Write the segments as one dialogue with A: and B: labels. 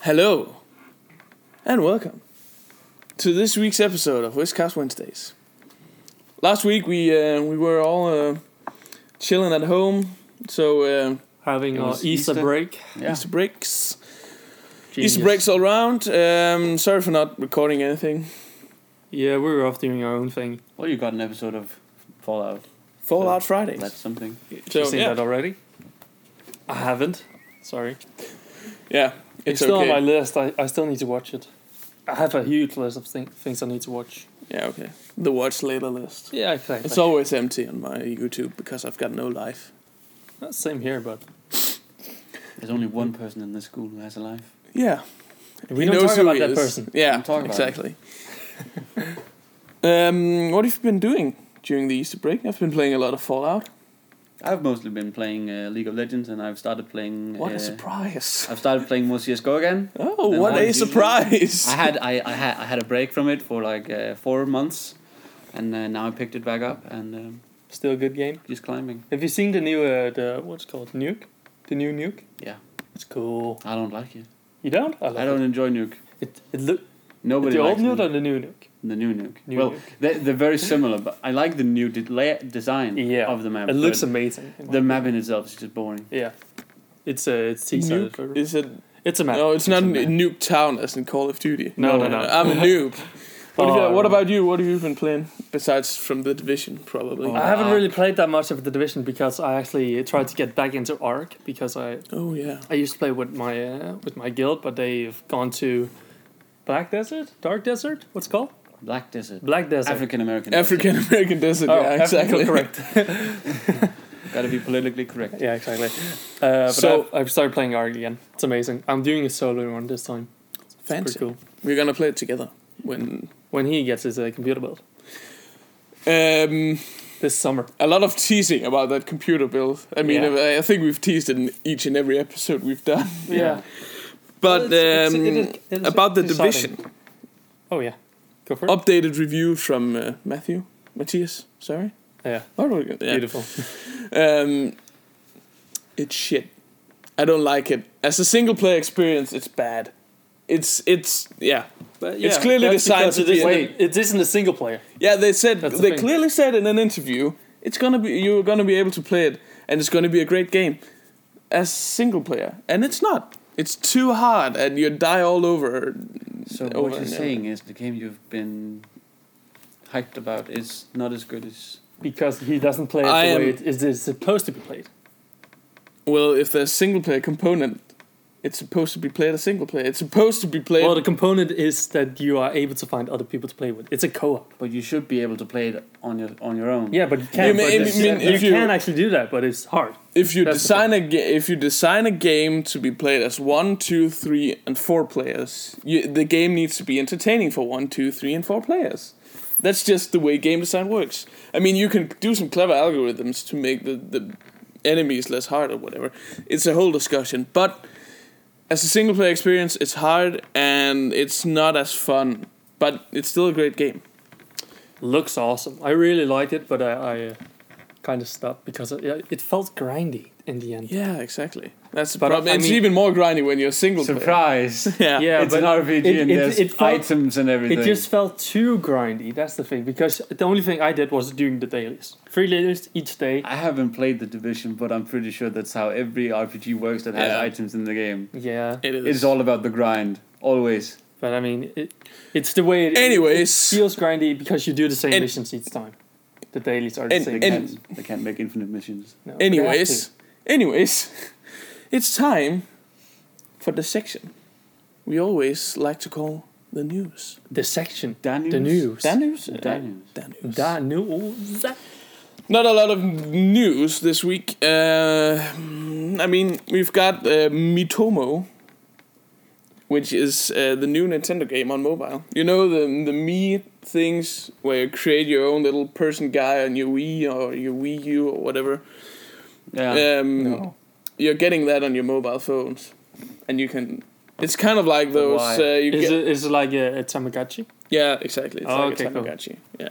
A: Hello, and welcome to this week's episode of Whiskers Wednesdays. Last week we uh, we were all uh, chilling at home, so uh,
B: having
C: It
B: our
C: was
B: Easter,
C: Easter.
B: break.
C: Yeah.
A: Easter breaks,
C: Genius.
A: Easter breaks all around. Um, sorry for not recording anything.
B: Yeah, we were off doing our own thing.
C: Well, you got an episode of Fallout.
A: Fallout Fridays.
C: That's something.
B: Did
A: So,
B: you seen
A: yeah.
B: that already? I haven't. Sorry.
A: yeah, it's,
B: It's, still on my
A: okay.
B: list. I, I still need to watch it. I have a huge list of thing, things I need to watch.
A: Yeah, okay. The watch later list.
B: Yeah, exactly.
A: It's always empty on my YouTube because I've got no life.
B: Uh, Same here, but
C: There's only one person in this school who has a life.
A: Yeah.
B: we
A: He
B: don't
A: knows
B: talk
A: who
B: about
A: he
B: that
A: is.
B: person.
A: Yeah,
C: Don't talk about
A: exactly. um, what have you been doing during the Easter break? I've been playing a lot of Fallout.
C: I've mostly been playing uh, League of Legends, and I've started playing.
A: What
C: uh,
A: a surprise!
C: I've started playing more CS:GO again.
A: Oh,
C: And
A: what
C: I
A: a
C: usually-
A: surprise!
C: I had I, I had I had a break from it for like uh, four months, and uh, now I picked it back up and um,
B: Still a good game.
C: just climbing.
B: Have you seen the new uh, the what's it called nuke? The new nuke?
C: Yeah.
B: It's cool.
C: I don't like it.
B: You don't? I, love
C: I don't
B: It,
C: enjoy Nuke.
B: it, it look
C: Nobody
B: the old
C: likes
B: nuke
C: Nuke.
B: or the new nuke?
C: the new Nuke.
B: New
C: well,
B: Nuke.
C: They're, they're very similar, but I like the new de- lay- design
B: Yeah.
C: of the map.
B: it looks
C: but
B: amazing.
C: the map in itself is just boring.
B: Yeah. It's a it's seaside
A: Nuke
B: adventure.
A: is it?
B: It's a map.
A: No, it's not
C: It's a map.
A: Nuke Town as in Call of Duty.
B: No, no, no.
A: I'm a noob. What, have
B: Oh,
A: you, what about you? What have you been playing besides from the Division? Probably.
C: Oh.
B: I haven't
C: Ark.
B: really played that much of the division because I actually tried to get back into Ark because I
A: Oh yeah.
B: I used to play with my uh, with my guild, but they've gone to Black Desert, Dark Desert. What's it called
C: Black Desert.
B: Black Desert?
C: African American.
A: African American Desert.
B: Oh,
A: yeah, exactly.
B: Africa, correct.
C: Gotta be politically correct.
B: yeah, exactly. Uh, but
A: So-
B: so I've, I've started playing Ark again. It's amazing. I'm doing a solo one this time. It's
A: Fancy.
B: pretty cool.
A: We're gonna play it together when.
B: When he gets his uh, computer build
A: Um,
B: this summer.
A: a lot of teasing about that computer build. I mean,
B: Yeah.
A: I I think we've teased it in each and every episode we've done.
C: Yeah.
A: But
B: Well, it's-
A: um,
B: it's- it is- it is
A: about the
B: exciting.
A: division,
B: Oh yeah, go for it.
A: updated review from uh, Matthew, Matthias. Sorry,
B: yeah,
A: what were we gonna- yeah.
B: beautiful.
A: Um, it's shit. I don't like it as a single player experience. It's bad. It's it's yeah
B: But
A: It's clearly
B: that's
A: designed to
B: because it
A: be
B: isn't-
A: an-
B: It isn't a single player.
A: yeah. They said
B: That's the
A: they
B: thing.
A: clearly said in an interview it's gonna be you're gonna be able to play it and it's gonna be a great game as single player and it's not. It's too hard and you die all over.
C: So
A: Over
C: what you're
A: and over.
C: saying is the game you've been hyped about is not as good as.
B: Because he doesn't play it
A: I
B: the
A: am-
B: way it is is supposed to be played.
A: Well, if there's single player component, it's supposed to be played as single player. It's supposed to be played.
B: Well, the component is that you are able to find other people to play with. It's a co-op.
C: But you should be able to play it on your on your own.
B: Yeah, but you can.
A: You
B: You,
A: may-
B: but
A: I mean,
B: you,
A: if you-
B: can actually do that, but it's hard.
A: if you
B: that's the
A: design a ga- if you design a game to be played as one, two, three, and four players, you, the game needs to be entertaining for one, two, three, and four players. That's just the way game design works. I mean, you can do some clever algorithms to make the, the enemies less hard or whatever. It's a whole discussion, but as a single player experience, it's hard and it's not as fun. But it's still a great game.
B: Looks awesome. I really liked it, but I, I uh, kind of stopped because it, yeah, it felt grindy in the end.
A: Yeah, exactly. That's the
B: But,
A: problem.
B: I
A: it's
B: mean-
A: even more grindy when you're a single player.
C: Surprise!
A: Yeah.
B: Yeah,
C: it's
B: but
C: an RPG
B: it-
C: and
B: it-
C: there's
B: it felt-
C: items and everything.
B: It just felt too grindy. That's the thing. Because the only thing I did was doing the dailies, three dailies each day.
C: I haven't played the division, but I'm pretty sure that's how every RPG works that has
A: Yeah.
C: items in the game.
B: Yeah,
A: It is.
C: It's all about the grind, always.
B: but I mean, it, it's the way. It,
A: Anyways.
B: it feels grindy because you do the same
A: And-
B: missions each time. The dailies are the
A: And-
C: They
B: same.
A: and-
C: can't, they can't make infinite missions.
B: No, they have
A: Anyways,
B: to.
A: anyways, it's time for the section we always like to call the news.
B: the section,
C: Danews.
B: the news,
A: news.
C: Danews.
A: Danews.
B: Da news.
A: Not a lot of news this week. Uh, I mean, we've got uh, Mitomo, which is uh, the new Nintendo game on mobile. You know the the me things where you create your own little person guy on your Wii or your Wii U or whatever.
C: Yeah.
A: Um, you're getting that on your mobile phones, and you can. It's kind of like
C: But
A: those.
C: why?
A: Uh, you
B: Is
A: get,
B: it is it like a, a Tamagotchi?
A: yeah, exactly. It's
B: Oh,
A: like a
B: okay, cool.
A: Tamagotchi. Yeah,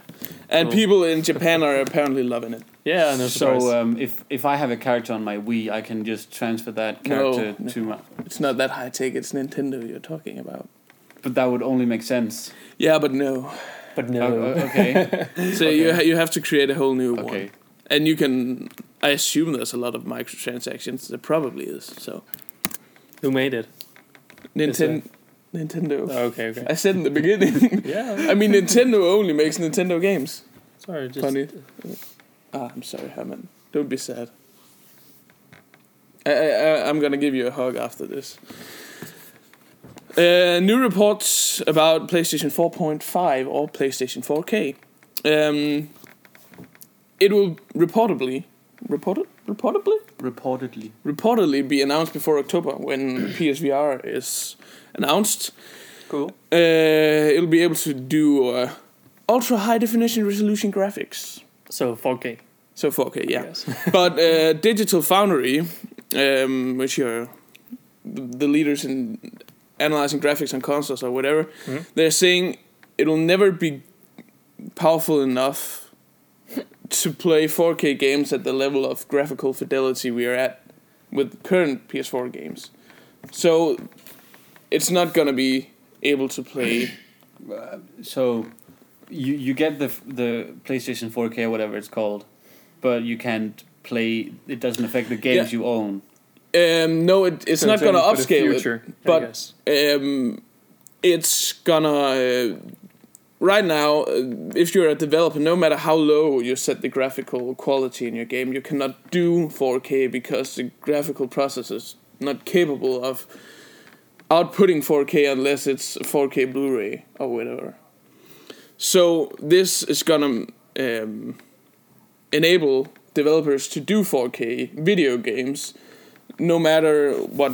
A: and
B: Cool.
A: people in Japan are apparently loving it.
B: Yeah,
A: uh,
B: no surprise.
C: so um, if if I have a character on my Wii, I can just transfer that
A: No,
C: character
A: no.
C: to my
A: It's not that high tech. It's Nintendo you're talking about.
C: But that would only make sense.
A: Yeah, but no.
B: But
C: O-
A: uh,
B: no.
C: o- okay.
A: So you ha- you have to create a whole new
C: okay.
A: one, and you can. I assume there's a lot of microtransactions. There probably is. So
B: Who made it?
A: Ninten- Nintendo.
B: Okay, Oh, okay.
A: I said in the beginning.
B: Yeah.
A: I mean, Nintendo only makes Nintendo games.
B: Sorry, just uh,
A: Funny. Ah, I'm sorry, Hammond. Don't be sad. I, I, I- I'm gonna give you a hug after this. Uh, new reports about PlayStation 4.5 or PlayStation 4K. Um, it will reportedly, reported, reportedly,
C: Reportedly.
A: reportedly be announced before October when PSVR is announced.
C: Cool.
A: Uh, it'll be able to do uh, ultra high definition resolution graphics.
B: so 4K.
A: So 4K, yeah.
B: Yes.
A: but uh, Digital Foundry, um, which are the the leaders in analyzing graphics on consoles or whatever,
B: Mhm.
A: they're saying it'll never be powerful enough to play 4K games at the level of graphical fidelity we are at with current PS4 games. So it's not going to be able to play.
C: Uh, so you you get the f- the PlayStation 4K whatever it's called, but you can't play. It doesn't affect the games you own.
A: Um, no, it, it's not going to upscale it. but- um, it's gonna uh, right now uh, if you're a developer no matter how low you set the graphical quality in your game you cannot do 4k because the graphical processor is not capable of outputting 4k unless it's 4k blu-ray or whatever so this is gonna um, enable developers to do 4k video games no matter what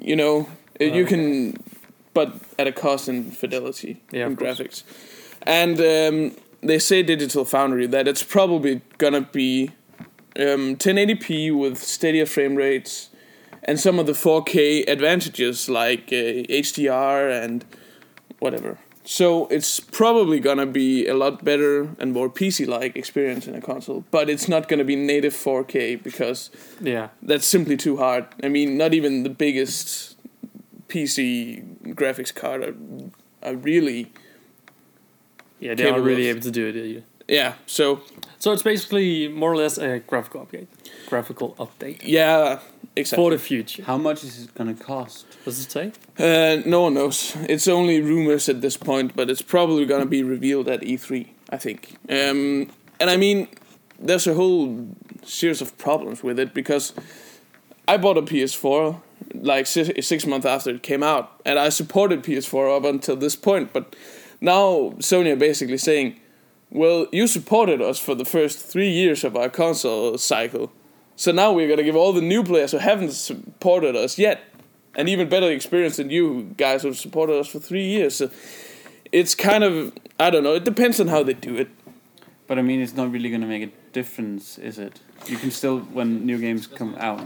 A: you know uh, you
B: Oh, Okay.
A: can but at a cost in fidelity
B: Yeah,
A: and
B: of course.
A: graphics. And um, they say Digital Foundry that it's probably gonna be um, 1080p with steadier frame rates and some of the 4K advantages like uh, HDR and whatever. So it's probably gonna be a lot better and more PC-like experience in a console, but it's not gonna be native 4K because
B: yeah,
A: that's simply too hard. I mean, not even the biggest PC graphics card are, are really.
B: yeah, they are
A: Capable
B: really
A: of-
B: able to do it. yeah.
A: Yeah, so
B: So it's basically more or less a graphical update. Graphical update
A: yeah, exactly.
B: for the future.
C: How much is it gonna cost?
B: Does it say?
A: Uh, no one knows. It's only rumors at this point, but it's probably gonna be revealed at E3, I think. Um, and I mean, there's a whole series of problems with it because I bought a PS4 like six, six months after it came out, and I supported PS4 up until this point. But now Sony are basically saying, "Well, you supported us for the first three years of our console cycle, so now we're gonna give all the new players who haven't supported us yet an even better experience than you guys who've supported us for three years." So it's kind of I don't know. It depends on how they do it.
C: But I mean, it's not really gonna make a difference, is it? You can still when new games come out.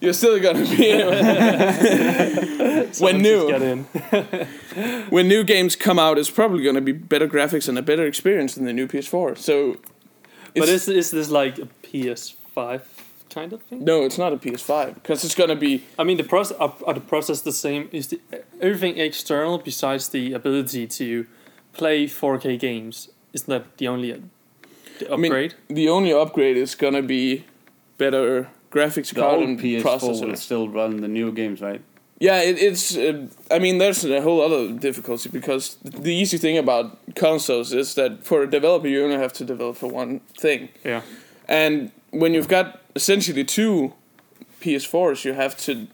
A: You're still gonna be when
B: Someone
A: new.
B: just got in.
A: when new games come out, it's probably going to be better graphics and a better experience than the new PS4. So,
B: But is is this like a PS5 kind of thing?
A: no, it's not a PS5 because it's going to be
B: I mean, the process are, are the process the same? Is the everything external besides the ability to play 4K games? Is that the only uh, the
A: mean,
B: upgrade?
A: the only upgrade is going to be better graphics
C: The
A: card
C: old
A: and
C: PS4 will
A: processors.
C: still run the new games, right?
A: Yeah, it, it's. Uh, I mean, there's a whole other difficulty because the easy thing about consoles is that for a developer, you only have to develop for one thing.
B: yeah.
A: And when you've got essentially two PS4s, you have to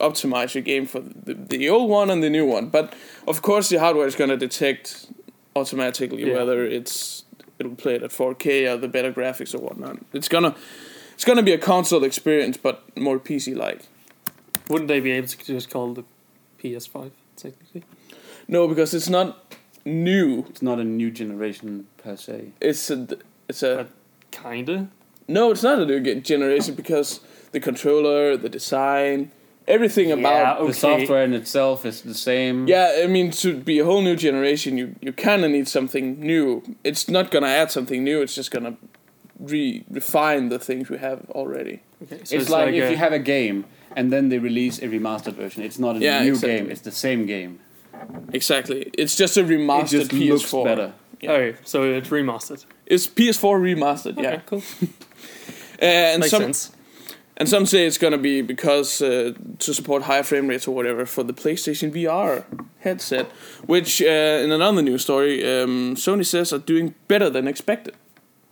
A: optimize your game for the, the old one and the new one. But of course, the hardware is going to detect automatically
B: Yeah.
A: whether it's it'll play it at 4K or the better graphics or whatnot. It's gonna it's gonna be a console experience, but more PC like.
B: Wouldn't they be able to just call the PS5 technically?
A: No, because it's not new.
C: It's not a new generation per se.
A: It's a it's a
B: Kinda.
A: no. It's not a new ge- generation because the controller, the design, everything about
B: Okay.
C: The software in itself is the same.
A: Yeah, I mean, to be a whole new generation, you, you kind of need something new. It's not going to add something new, it's just going to re- refine the things we have already.
B: Okay, so
C: it's, like, if
B: a-
C: you have a game and then they release a remastered version. It's not a
A: Yeah,
C: new
A: exactly.
C: game. It's the same game.
A: Exactly. It's just a
C: It
A: remastered
C: just
A: PS4.
C: looks better.
A: yeah.
B: Okay, Oh, so it's remastered.
A: It's PS4 remastered.
B: Okay,
A: Yeah.
B: cool.
A: And
B: Makes
A: some
B: sense.
A: and some say it's gonna be because uh, to support higher frame rates or whatever for the PlayStation VR headset, which uh, in another news story, um, Sony says are doing better than expected.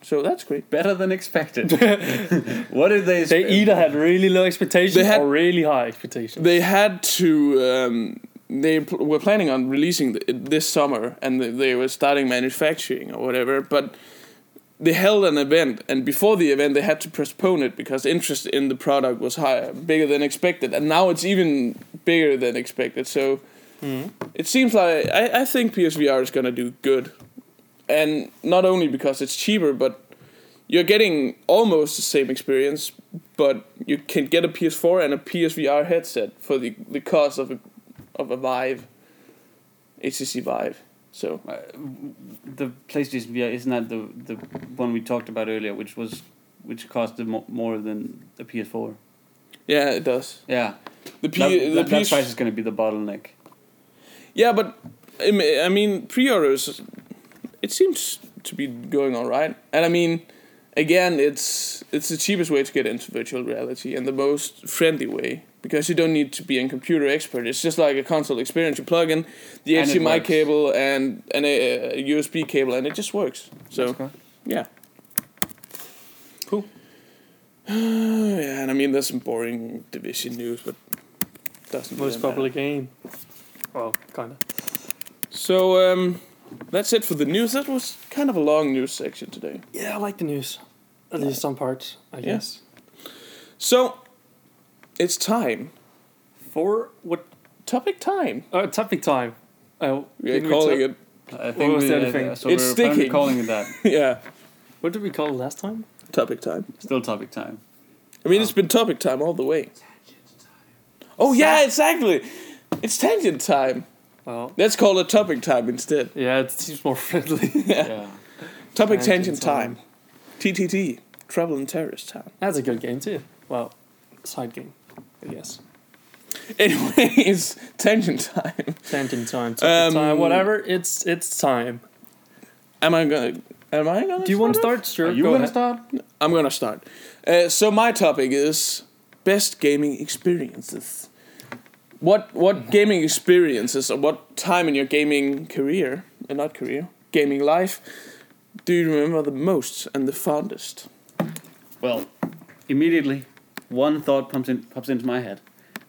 A: So that's great.
C: Better than expected. what did they?
B: They
A: e-
B: either had really low expectations
A: They had-
B: or really high expectations.
A: They had to. Um, they pl- were planning on releasing th- it this summer, and th- they were starting manufacturing or whatever. But they held an event, and before the event, they had to postpone it because interest in the product was higher, bigger than expected, and now it's even bigger than expected. So
B: Mhm.
A: it seems like I, I think PSVR is gonna do good, and not only because it's cheaper, but you're getting almost the same experience, but you can get a PS4 and a PSVR headset for the the cost of a of a Vive, HTC Vive. So
C: Uh, the PlayStation VR isn't that the the one we talked about earlier, which was which cost mo- more than the PS4.
A: yeah, it does.
C: Yeah,
A: The P
C: that,
A: the
C: that, that
A: PS
C: price is going to be the bottleneck.
A: yeah, but I me- I mean pre-orders, it seems to be going all right, and I mean. Again, it's it's the cheapest way to get into virtual reality and the most friendly way because you don't need to be a computer expert. It's just like a console experience. You plug in the
C: And it
A: HDMI
C: works.
A: cable and, and a, a USB cable, and it just works. So Yeah.
B: Cool.
A: yeah, and I mean there's some boring division news, but doesn't really
B: Most
A: matter.
B: popular game. Well, kind of.
A: So um, that's it for the news. That was kind of a long news section today.
B: Yeah, I like the news. At least some parts, I guess.
A: So it's time,
B: For what
A: topic time.
B: uh, topic time? Uh,
A: We're
B: didn't we
A: calling
B: ta-
A: it.
C: I think
B: was
C: we,
B: the other
C: uh,
B: thing?
C: So
A: It's
C: we're apparently
A: sticking.
C: calling it that.
A: yeah,
B: What did we call it last time?
A: topic time.
C: Still topic time.
A: I mean it's
B: Oh.
A: been topic time all the way. Oh yeah, exactly. It's tangent time.
B: Well,
A: Let's call it topic time instead.
B: yeah, it seems more friendly.
C: yeah.
A: Topic
B: Tangent
A: tangent
B: time.
A: time. TTT. Trouble in Terrorist Town.
B: That's a good game too. Well, side game, I guess.
A: Anyways, tangent time.
B: Tangent time, topic
A: Um,
B: time, whatever. It's it's time.
A: Am I gonna? Am I gonna?
B: Do you want to
A: it?
B: start? Sure.
C: Are you
B: go
C: going to
B: ahead.
C: start?
A: I'm gonna start. Uh, so my topic is best gaming experiences. What what gaming experiences or what time in your gaming career, uh, not career, gaming life, do you remember the most and the fondest?
C: Well, immediately, one thought pops in pops into my head,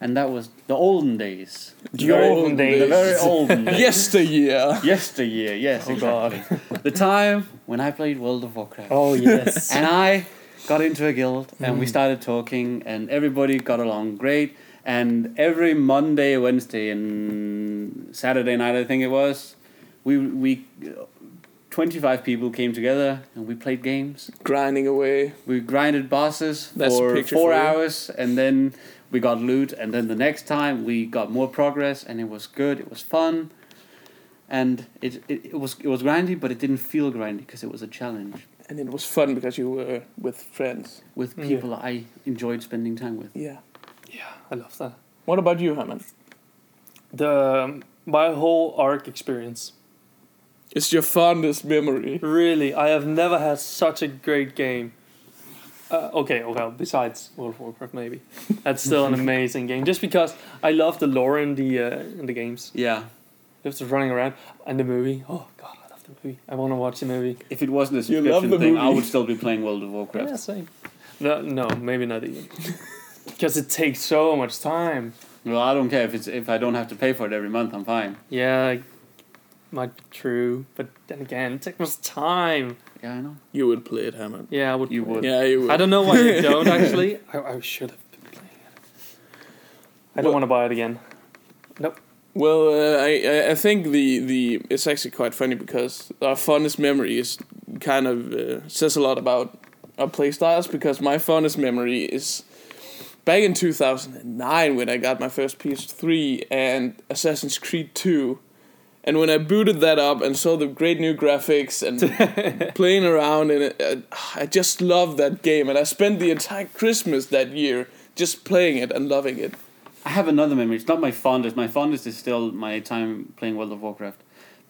C: and that was the olden days.
A: The olden
C: The very
A: days.
C: olden days.
A: Yesteryear.
C: Yesteryear, yes.
B: Oh God.
C: exactly. the time when I played World of Warcraft.
B: Oh yes.
C: And I got into a guild and we started talking and everybody got along great. And every Monday, Wednesday, and Saturday night, I think it was, we, we uh, 25 people came together and we played games.
A: Grinding away.
C: We grinded bosses
A: That's a
C: for
A: picture
C: four
A: for you.
C: hours and then we got loot. And then the next time we got more progress and it was good, it was fun. And it, it, it was it was grindy, but it didn't feel grindy because it was a challenge
A: And it was fun because you were with friends.
C: with
B: Yeah.
C: people I enjoyed spending time with.
A: Yeah.
B: yeah, I love that.
A: What about you, Herman?
B: The um, my whole arc experience.
A: It's your fondest memory.
B: Really, I have never had such a great game. Uh, okay, oh, well, besides World of Warcraft, maybe that's still an amazing game. Just because I love the lore in the uh, in the games,
C: Yeah.
B: just running around and the movie. Oh God, I love the movie. I want to watch the movie.
C: If it wasn't a
A: You love
C: subscription
A: the
C: thing, I
A: movie.
C: would still be playing World of Warcraft.
B: Yeah, same. No, no, maybe not even. Because it takes so much time.
C: Well, I don't care if it's if I don't have to pay for it every month. I'm fine.
B: Yeah, it might be true, but then again, it takes much time.
C: Yeah, I know.
A: You would play it, Herman.
B: Yeah, I would.
C: You
B: play
C: would.
B: it.
A: Yeah, you would.
B: I don't know why you don't actually. I, I should have been playing it. I don't
A: Well-
B: want to buy it again.
A: Well, uh, I I- I think the the it's actually quite funny because our fondest memory is kind of uh, says a lot about our playstyles because my fondest memory is back in two thousand and nine when I got my first PS three and Assassin's Creed two, And when I booted that up and saw the great new graphics and playing around in it, uh, I just loved that game. And I spent the entire Christmas that year just playing it and loving it.
C: I have another memory. It's not my fondest. My fondest is still my time playing World of Warcraft.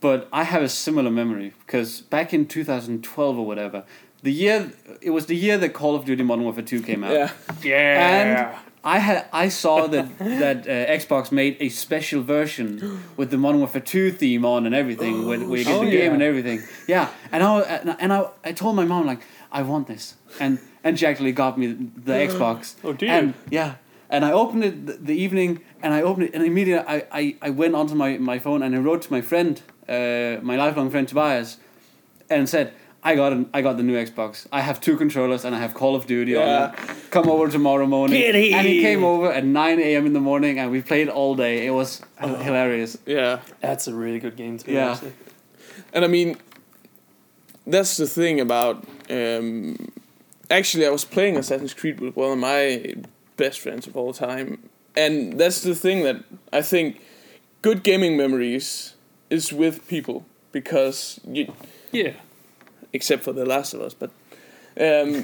C: But I have a similar memory because back in 2012 or whatever, the year it was the year that Call of Duty Modern Warfare 2 came out.
A: Yeah.
B: Yeah.
C: And I had I saw that that uh, Xbox made a special version with the Modern Warfare 2 theme on and everything, where, where you get
B: Oh,
C: the game
B: yeah.
C: and everything. Yeah, and I and I- and I, I told my mom like I want this, and and she actually got me the Xbox.
B: Oh, do you?
C: And yeah. And I opened it th- the evening, and I opened it, and immediately I, I, I went onto my, my phone and I wrote to my friend, uh, my lifelong friend Tobias, and said, I got an, I got the new Xbox. I have two controllers and I have Call of Duty
A: Yeah.
C: on it. Come over tomorrow morning.
B: Get in.
C: And he came over at 9 a.m. in the morning and we played all day. It was
A: Oh.
C: hilarious.
A: Yeah.
B: That's a really good game to
C: Yeah.
B: yeah. actually.
A: And I mean, that's the thing about. Um, actually, I was playing Assassin's Creed with one of my best friends of all time, and that's the thing that I think good gaming memories is with people because you,
B: Yeah.
A: except for The Last of Us, but. Um,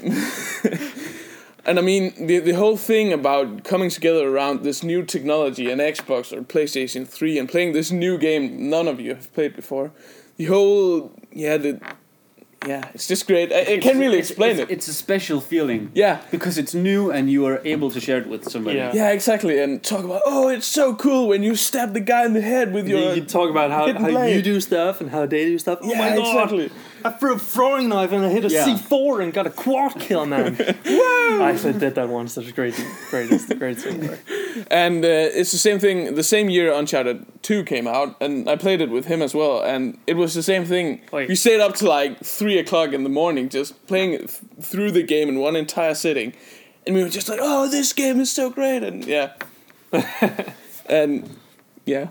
A: and I mean, the, the whole thing about coming together around this new technology and Xbox or PlayStation 3 and playing this new game none of you have played before, the whole. Yeah, the. Yeah, it's just great. I, I can't really
C: It's-
A: explain
C: it's-
A: it.
C: It's a special feeling.
A: Yeah.
C: Because it's new and you are able to share it with somebody.
B: Yeah.
A: Yeah, exactly. And talk about, oh, it's so cool when you stab the guy in the head with
B: You,
A: your.
B: you talk about how,
A: hidden
B: how
A: blade.
B: you do stuff and how they do stuff. Oh
A: Yeah,
B: my god!
A: exactly.
B: I threw a throwing knife and I hit a
C: Yeah.
B: C4 and got a quad kill, man. I actually did that once. That's great, greatest, greatest thing ever.
A: And uh, it's the same thing. The same year Uncharted Two came out, and I played it with him as well. And it was the same thing.
B: Wait.
A: We stayed up to like three o'clock in the morning, just playing it th- through the game in one entire sitting. And we were just like, "Oh, this game is so great!" And yeah, and yeah,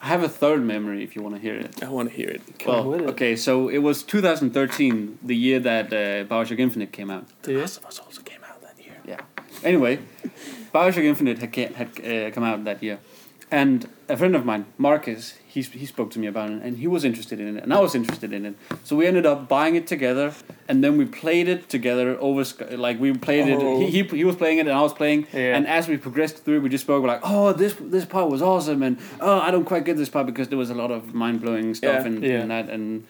C: I have a third memory if you want to hear it.
A: I want to hear it.
B: Come
C: well,
B: with it.
C: Oh, okay, so it was 2013, the year that uh, Bioshock Infinite came out.
A: The
B: Yeah.
A: Last of Us also came out that year.
C: Yeah. Anyway, Bioshock Infinite had, ca- had uh, come out that year, and a friend of mine, Marcus, he sp- he spoke to me about it, and he was interested in it, and I was interested in it. So we ended up buying it together, and then we played it together over Sky- like we played
A: Oh.
C: it. He, he he was playing it, and I was playing.
B: Yeah.
C: And as we progressed through, we just spoke. We're like, oh, this this part was awesome, and oh, I don't quite get this part because there was a lot of mind blowing stuff
A: Yeah.
C: and,
B: Yeah.
C: and that and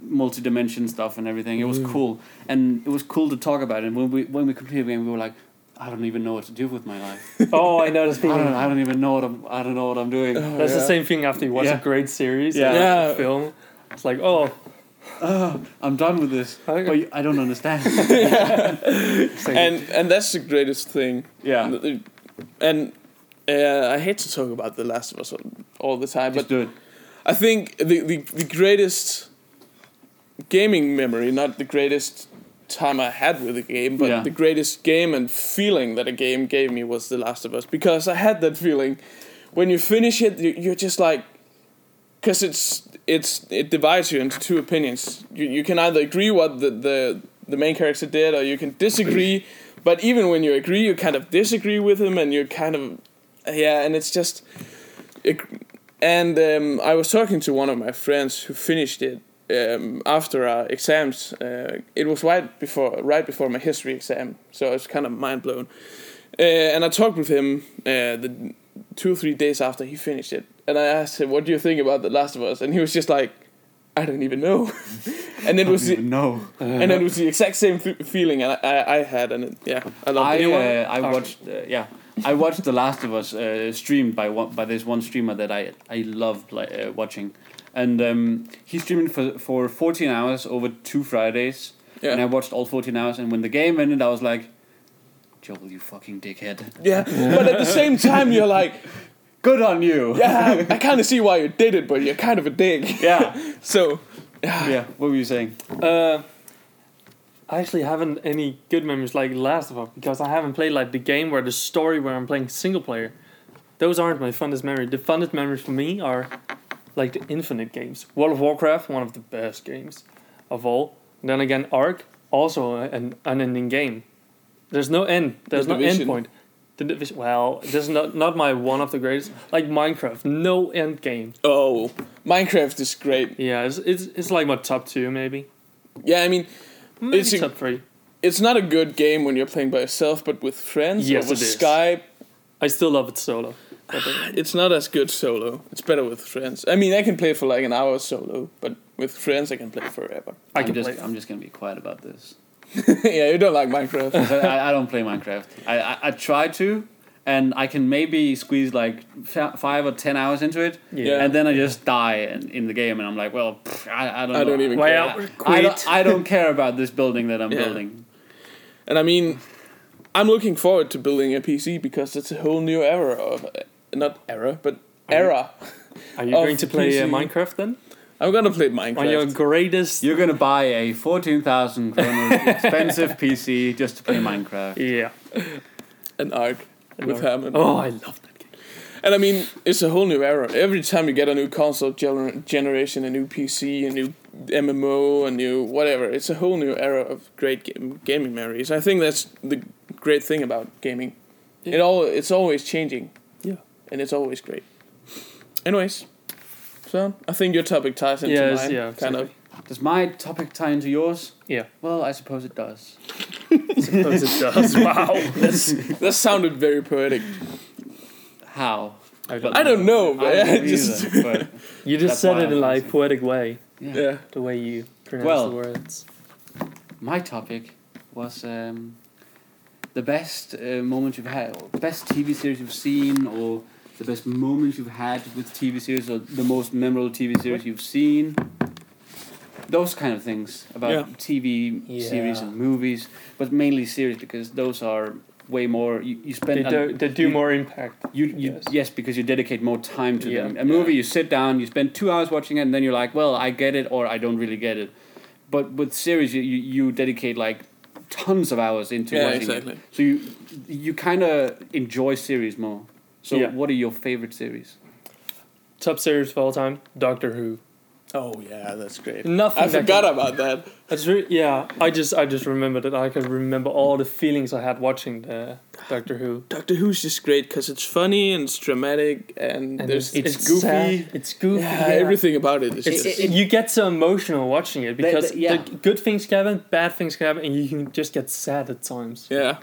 C: multi-dimension stuff and everything. It was cool, and it was cool to talk about. it. And when we when we completed the game, we were like, I don't even know what to do with my life.
B: Oh, I know this
C: I don't
B: feeling.
C: I don't even know what I'm I don't know what I'm doing.
B: That's the
A: Yeah.
B: same thing after you watch
C: Yeah.
B: a great series,
C: Yeah.
B: yeah.
A: Yeah.
B: film. It's like, oh,
C: Ugh, Ah, I'm done with this.
B: Okay.
C: But you- I don't understand.
B: same.
A: And and that's the greatest thing.
C: yeah,
A: And uh, I hate to talk about The Last of Us all- all the time, but
C: just do it.
A: I think the, the, the greatest gaming memory, not the greatest time I had with a game, but
C: Yeah.
A: the greatest game and feeling that a game gave me was The Last of Us because I had that feeling when you finish it, you, you're just like, because it's it's it divides you into two opinions. You you can either agree what the the the main character did, or you can disagree. But even when you agree, you kind of disagree with him, and you're kind of yeah, and it's just. It, and um, I was talking to one of my friends who finished it um, after our exams. Uh, it was right before right before my history exam, so I was kind of mind blown. Uh, and I talked with him uh, the two or three days after he finished it, and I asked him, "What do you think about The Last of Us?" And he was just like, "I don't even know." and it was the,
C: No.
A: and it was the exact same f- feeling I, I I had, and it, yeah, I loved
C: I
A: it.
C: uh, I watched uh, yeah I watched The Last of Us uh, streamed by one by this one streamer that I I loved like, uh, watching, and um, he streamed for for fourteen hours over two Fridays,
A: Yeah.
C: and I watched all fourteen hours. And when the game ended, I was like, Joel, you fucking dickhead,
A: Yeah, but at the same time, you're like,
C: good on you.
A: yeah, I kind of see why you did it, but you're kind of a dick.
C: yeah,
A: So
C: yeah. What were you saying?
B: Uh, I actually haven't any good memories like Last of Us because I haven't played like the game where the story where I'm playing single player. Those aren't my funnest memories. The funnest memories for me are like the Infinite games. World of Warcraft, one of the best games of all. And then again, Ark, also an unending game. There's no end. There's no end
A: Division.
B: point. The Division. Well, this is not not my one of the greatest. Like Minecraft, no end game.
A: Oh, Minecraft is great.
B: Yeah, it's it's, it's like my top two maybe.
A: Yeah, I mean,
B: Maybe
A: It's a-
B: top three.
A: it's not a good game when you're playing by yourself, but with friends
B: Yes,
A: or with
B: it is.
A: Skype,
B: I still love it solo. But, uh,
A: it's not as good solo. It's better with friends. I mean, I can play for like an hour solo, but with friends, I can play forever.
B: I
C: I'm
B: can
C: just
B: play.
C: I'm just gonna be quiet about this.
A: yeah, you don't like Minecraft.
C: 'Cause I, I don't play Minecraft. I, I, I try to, and I can maybe squeeze like f- five or ten hours into it,
A: Yeah.
C: and then I just die in, in the game, and I'm like, well, pff, I, I don't.
A: I
C: know.
A: don't even
B: Why uh,
A: care.
B: out?
C: I
B: Quit.
C: don't, I don't care about this building that I'm
A: Yeah.
C: building.
A: And I mean, I'm looking forward to building a PC because it's a whole new era of not era, but era.
B: Are you going
A: of
B: to play uh,
A: PC.
B: Minecraft then?
A: I'm gonna play
B: On your
A: Minecraft.
B: greatest.
C: You're gonna buy a fourteen thousand kroner expensive PC just to play Minecraft.
B: Yeah.
A: An arc with
B: Ark.
A: Hammond.
B: Oh, I love that game.
A: And I mean, it's a whole new era. Every time you get a new console gener- generation, a new PC, a new MMO, a new whatever, it's a whole new era of great game- gaming memories. I think that's the great thing about gaming. It all it's always changing.
B: Yeah.
A: And it's always great. Anyways, so I think your topic ties into
B: Yes,
A: mine,
B: yeah,
A: kind of.
B: exactly.
C: Does my topic tie into yours?
B: Yeah.
C: Well, I suppose it does.
B: Suppose it does. Wow. That's.
A: That sounded very poetic.
C: How?
B: I
A: I don't know, but I,
C: don't
A: Oh, just
C: either, but
B: You just
C: That's
B: said
C: why
B: it in
C: I'm
B: like
C: asking.
B: poetic way,
C: yeah.
A: yeah.
B: the way you pronounce
C: Well.
B: the words.
C: My topic was um, the best uh, moment you've had, or best TV series you've seen, or the best moments you've had with TV series, or the most memorable TV series you've seen. Those kind of things about
A: Yeah.
C: TV series
B: Yeah.
C: and movies, but mainly series because those are way more. You, you
B: They
C: spend
B: do, they do
C: uh, you-
B: more impact.
C: You, you
B: Yes.
C: yes. because you dedicate more time to
B: Yeah.
C: them. A movie, you sit down, you spend two hours watching it, and then you're like, well, I get it, or I don't really get it. But with series, you, you, you dedicate like tons of hours into
A: Yeah,
C: watching
A: exactly.
C: it. So you you kind of enjoy series more. So
B: Yeah.
C: what are your favorite series?
B: Top series of all time, Doctor Who.
A: Oh yeah, that's great.
B: Nothing.
A: I
B: that
A: forgot
B: can-
A: about that.
B: That's re- yeah. I just I just remembered it. I can remember all the feelings I had watching the Doctor Who.
A: Doctor Who's just great because it's funny and it's dramatic and,
B: And
A: there's
B: it's,
A: it's,
B: it's
A: goofy.
B: sad, It's goofy.
A: Yeah,
B: yeah.
A: everything about it is
B: It's,
A: just,
C: it-
B: you get so emotional watching it
C: the-
B: because
C: yeah.
B: the good things can happen, bad things can happen, and you can just get sad at times.
A: yeah,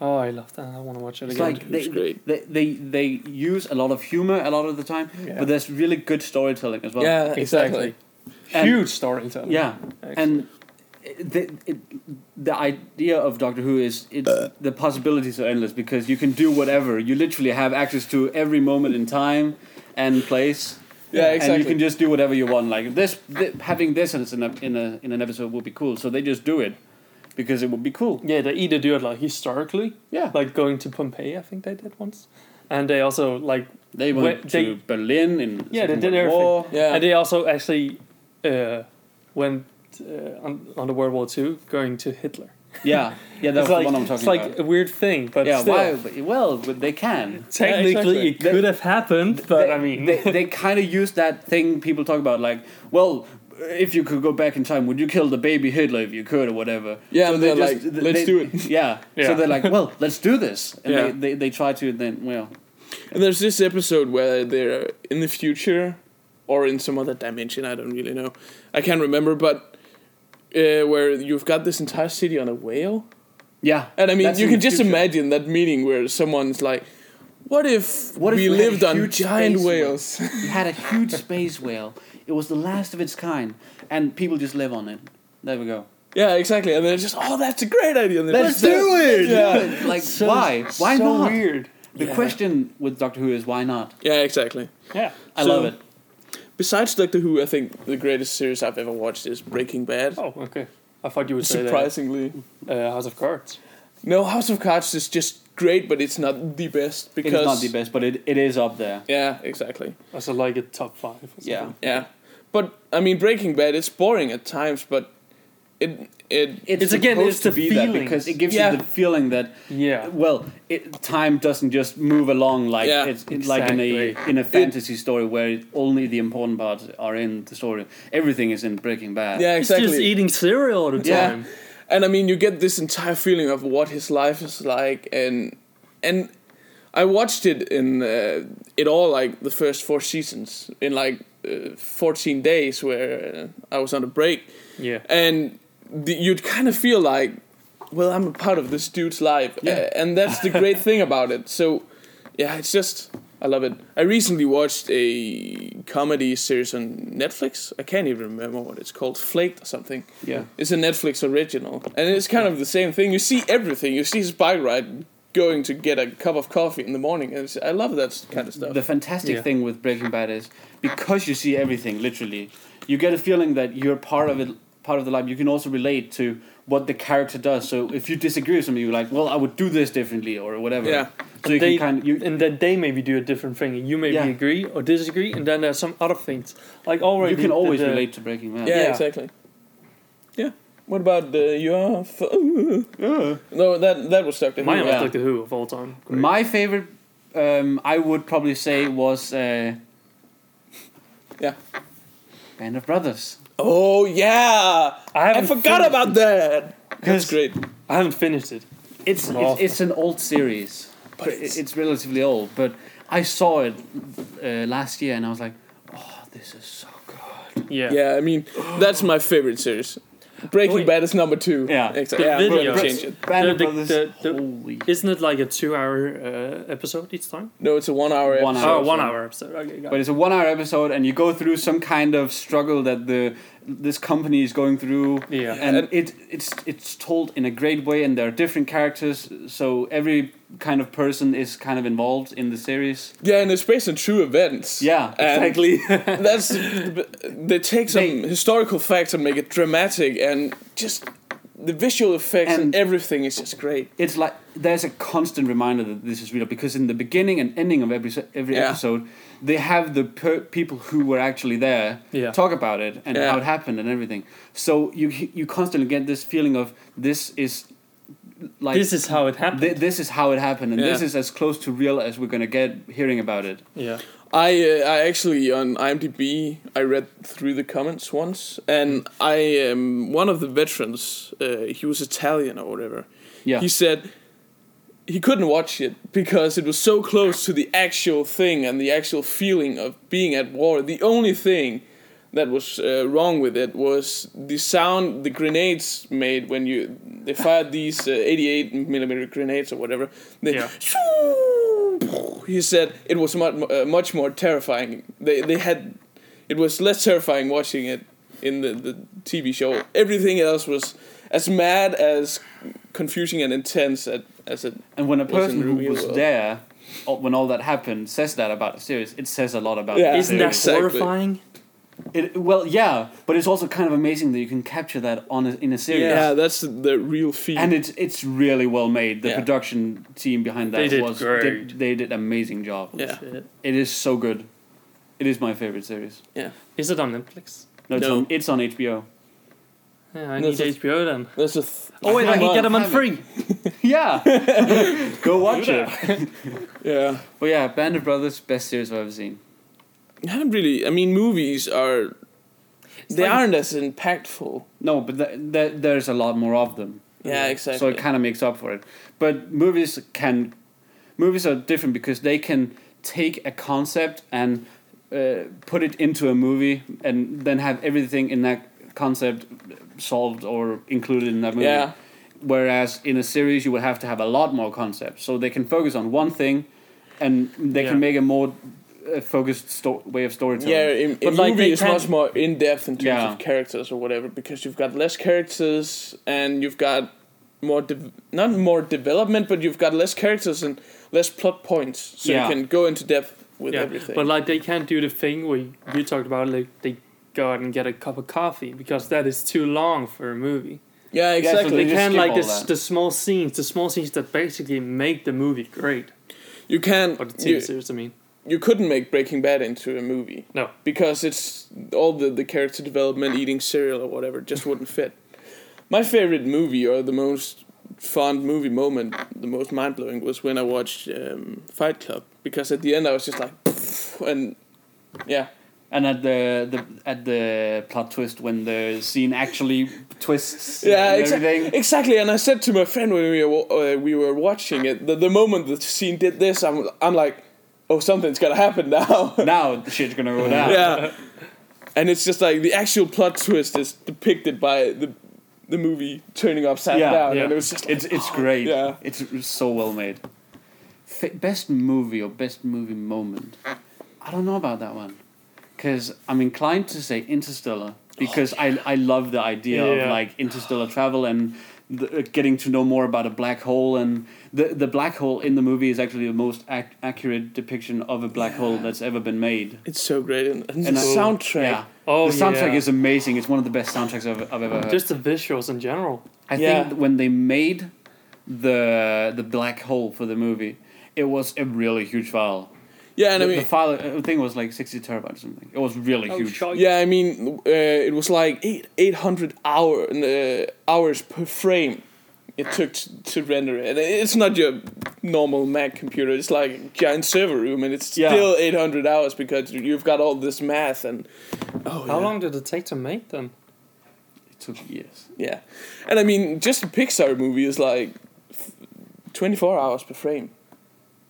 B: Oh, I love that. I want to watch it
C: It's
B: again.
C: like they,
A: Who's great.
C: they, they they use a lot of humor a lot of the time, but there's really good storytelling as well.
A: yeah,
B: exactly.
A: exactly.
C: And-
B: Huge storytelling.
C: Yeah,
B: Excellent.
C: and the it, the idea of Doctor Who is it's the possibilities are endless because you can do whatever. You literally have access to every moment in time and place.
A: Yeah, exactly.
C: And you can just do whatever you want. Like this, th- having this in a, in a in an episode would be cool. So they just do it because it would be cool.
B: Yeah, they either do it like historically,
C: Yeah,
B: like going to Pompeii, I think they did once, and they also like
C: they
B: Wh-
C: went
B: they-
C: to Berlin in
B: Yeah, they
C: Second
B: did
C: World
B: everything.
C: War.
A: yeah,
B: And they also actually uh, went uh, on, on the World War Two, going to Hitler.
C: Yeah, yeah, that's
B: it's like,
C: the one I'm talking
B: it's like
C: about.
B: a weird thing, but
C: yeah,
B: still,
C: why? but- Well, but they can.
B: technically
A: Yeah, exactly.
B: it could have happened, but
C: they,
B: I mean,
C: they, they kind of use that thing people talk about, like, well, if you could go back in time, would you kill the baby Hitler if you could, or whatever?
A: Yeah, and they're like,
C: th-
A: "Let's
C: they-
A: do it."
C: Yeah.
B: Yeah.
C: So they're like, well, let's do this, and
A: Yeah.
C: they, they they try to, and then well,
A: And there's this episode where they're in the future or in some other dimension. I don't really know. I can't remember, but uh, where you've got this entire city on a whale,
C: yeah.
A: and I mean,
C: that's
A: you
C: in
A: can
C: the
A: just
C: future.
A: imagine that meeting where someone's like. What if
C: What if
A: we
C: we had a
A: lived on
C: huge
A: giant
C: space whale?"
A: whales?
C: You had a huge space whale. It was the last of its kind, and people just live on it. There we go.
A: yeah, exactly. And they're just, oh, that's a great idea. And they're
C: Let's
A: just-
C: do
A: it! Yeah,
C: Like, why? Why
B: so
C: not?
B: weird.
C: The
A: Yeah.
C: question with Doctor Who is why not?
A: yeah exactly.
B: Yeah.
C: I
A: So-
C: love it.
A: Besides Doctor Who, I think the greatest series I've ever watched is Breaking Bad.
B: Oh, okay. I thought you would say
A: Surprisingly,
B: that. Uh, House of Cards.
A: no House of Cards is just great, but it's not the best because
C: It is not the best, but it, it is up there.
A: Yeah, exactly.
B: Also, like a top five. Or something.
C: Yeah.
A: Yeah, but I mean Breaking Bad. It's boring at times, but it it
B: It's again,
C: supposed
B: it's the feelings.
C: because it gives
A: Yeah.
C: you the feeling that
B: Yeah.
C: well, it, time doesn't just move along like
A: Yeah.
C: it's it's like in a
B: Exactly.
C: in a fantasy story where it- only the important parts are in the story. Everything is in Breaking Bad.
A: yeah exactly.
B: It's just eating cereal all the
A: Yeah.
B: time.
A: and I mean you get this entire feeling of what his life is like, and and I watched it in uh, it all like the first four seasons in like uh, 14 days where uh, I was on a break,
B: Yeah.
A: and the, you'd kind of feel like, well, I'm a part of this dude's life,
C: Yeah.
A: A- and that's the great thing about it. So, yeah, it's just I love it. I recently watched a comedy series on Netflix. I can't even remember what it's called, Flaked or something.
C: Yeah.
A: It's a Netflix original, and it's kind of the same thing. You see everything. You see his bike ride, going to get a cup of coffee in the morning, and it's, I love that s- kind of stuff.
C: The fantastic
B: Yeah.
C: thing with Breaking Bad is because you see everything literally, you get a feeling that you're part of it, part of the life. You can also relate to what the character does. So if you disagree with something, you're like, "Well, I would do this differently" or whatever.
A: Yeah.
C: So you
B: they,
C: can kind of you.
B: and then they maybe do a different thing. and You maybe
C: Yeah.
B: agree or disagree, and then there's some other things like already.
C: You can
B: the-
C: always
B: the-
C: relate to Breaking Bad.
A: yeah,
B: Yeah.
A: exactly. Yeah. What about the your? F- no, that that was stuck. in
B: Mine
A: here.
B: was
C: Yeah.
B: like the Who of all time. Great.
C: My favorite, um, I would probably say, was uh,
A: Yeah.
C: Band of Brothers.
A: Oh yeah,
B: I
A: I,
B: haven't
A: forgot
B: finished
A: about that. That's
C: Yes.
A: great.
B: I haven't finished it.
C: It's it's,
B: Awful.
C: it's an old series,
A: But
C: but
A: it's-
C: it's, it's relatively old. But I saw it uh, last year, and I was like, "Oh, this is so good."
B: Yeah.
A: Yeah, I mean that's my favorite series. Breaking
B: Wait.
A: Bad is number two.
C: Yeah.
A: exactly.
B: The
A: Yeah, I'm gonna
B: videos.
A: change it.
C: Band
B: The-
C: of
B: the-
C: Brothers,
B: the- the-
C: holy!
B: Isn't it like a two-hour uh, episode each time?
A: No, it's a one-hour.
C: One
A: episode.
B: Oh,
C: hour,
B: one
C: so-
B: hour episode. Okay, got
C: But
B: it.
C: it's a one-hour episode, and you go through some kind of struggle that the this company is going through.
B: Yeah.
A: And-
C: and it it's it's told in a great way and there are different characters so every kind of person is kind of involved in the series
A: Yeah, and it's based on true events.
C: yeah
A: And
C: exactly
A: That's they take some
C: They-
A: historical facts and make it dramatic, and just the visual effects and,
C: And-
A: everything is just great.
C: it's like there's a constant reminder that this is real because in the beginning and ending of every se- every
A: Yeah.
C: episode they have the per- people who were actually there
B: Yeah.
C: talk about it and
A: Yeah.
C: how it happened and everything so you you constantly get this feeling of this is like
B: this is how it happened.
C: thi- this is how it happened, and this
A: Yeah.
C: is as close to real as we're gonna get hearing about it.
B: yeah.
A: I uh, I actually on IMDb I read through the comments once, and I um, one of the veterans. Uh, he was Italian or whatever.
C: Yeah,
A: He said he couldn't watch it because it was so close to the actual thing and the actual feeling of being at war. The only thing that was uh, wrong with it was the sound the grenades made when you they fired these uh, 88 millimeter grenades or whatever. They
B: Yeah.
A: He said it was much, uh, much more terrifying. They they had it was less terrifying watching it in the, the TV show. Everything else was as mad as confusing and intense at, as it.
C: And when a
A: Was in
C: person
A: the
C: who
A: real
C: was
A: world.
C: there o- when all that happened says that about the series, it says a lot about
A: Yeah.
C: the
B: Isn't that
C: series.
A: Exactly.
B: horrifying?
C: It, well, yeah, but it's also kind of amazing that you can capture that on a, in a series.
A: Yeah, that's the real feel.
C: And it's it's really well made. The
A: Yeah.
C: production team behind that
B: They did
C: was
B: great.
C: Did, they did amazing job.
A: Yeah.
B: Shit.
C: It is so good. It is my favorite series.
A: yeah,
B: Is it on Netflix?
C: No, it's,
A: No.
C: On, it's on HBO.
B: Yeah, I
A: No,
B: need
A: it's-
B: HBO then.
A: that's a. Th-
B: Oh wait, I
C: Come
B: can
C: on,
B: get them on
C: have it.
B: free.
C: Yeah, go watch it.
A: yeah,
C: But yeah, Band of Brothers, best series I've ever seen.
A: I haven't really. I mean, movies are.
B: It's
A: they
B: like-
A: aren't as impactful.
C: No, but th- th- there's a lot more of them.
A: Yeah, exactly.
C: So it kind of makes up for it. But movies can, movies are different because they can take a concept and uh, put it into a movie, and then have everything in that concept solved or included in that movie.
A: yeah,
C: Whereas in a series, you would have to have a lot more concepts, so they can focus on one thing, and they
B: Yeah.
C: can make a more uh, focused sto- way of storytelling.
A: yeah. In,
B: But,
A: in
B: like, they
A: movie, it's
B: can-
A: much more in depth in terms
C: Yeah.
A: of characters or whatever because you've got less characters and you've got more de- not more development, but you've got less characters and less plot points, so
C: Yeah.
A: you can go into depth with
B: yeah,
A: everything.
B: but like they can't do the thing where you talked about, like they go out and get a cup of coffee because that is too long for a movie.
A: yeah,
C: so
A: exactly.
C: They
B: They
C: just
B: can
C: skip
B: like
C: all
B: this,
C: that.
B: the small scenes, the small scenes that basically make the movie great.
A: You can
B: Or the TV
A: you,
B: series, I mean.
A: you couldn't make Breaking Bad into a movie.
B: No.
A: Because it's all the, the character development, eating cereal or whatever just wouldn't fit. My favorite movie or the most fond movie moment, the most mind blowing was when I watched um, Fight Club because at the end I was just like and yeah.
C: And at the, the at the plot twist when the scene actually twists
A: Yeah,
C: and
A: exa-
C: everything.
A: exactly. And I said to my friend when we were wa- uh, we were watching it, the, the moment the scene did this, I'm I'm like, oh, something's gonna happen now.
C: now the shit's gonna go down.
A: yeah. and it's just like the actual plot twist is depicted by the the movie turning upside
C: Yeah,
A: down,
B: yeah.
A: and it was just like,
C: It's it's great.
A: Yeah.
C: It's so well made. Fa best movie or best movie moment? I don't know about that one. Because I'm inclined to say Interstellar. Because
A: Oh,
C: I, I love the idea
B: Yeah.
C: of like interstellar travel and the, uh, getting to know more about a black hole. And the, the black hole in the movie is actually the most ac- accurate depiction of a black hole that's ever been made.
A: it's so great, and, and
C: And
A: the
C: I-
A: soundtrack.
C: Yeah.
B: Oh,
C: the soundtrack
B: yeah.
C: is amazing. It's one of the best soundtracks I've, I've ever heard.
B: Just the visuals in general.
C: I
A: Yeah.
C: think when they made the the black hole for the movie, it was a really huge file.
A: Yeah, and
C: the,
A: I mean,
C: the file uh, thing was like sixty terabytes or something. It was really
B: Oh,
C: huge.
A: Yeah, I mean, uh, it was like eight eight hundred hour uh, hours per frame it took to, to render it. And It's not your normal Mac computer. It's like a giant server room, and it's
C: Yeah.
A: still eight hundred hours because you- you've got all this math and oh
B: How
A: yeah.
B: long did it take to make them?
C: It took years.
A: Yeah, and I mean, just a Pixar movie is like twenty four hours per frame.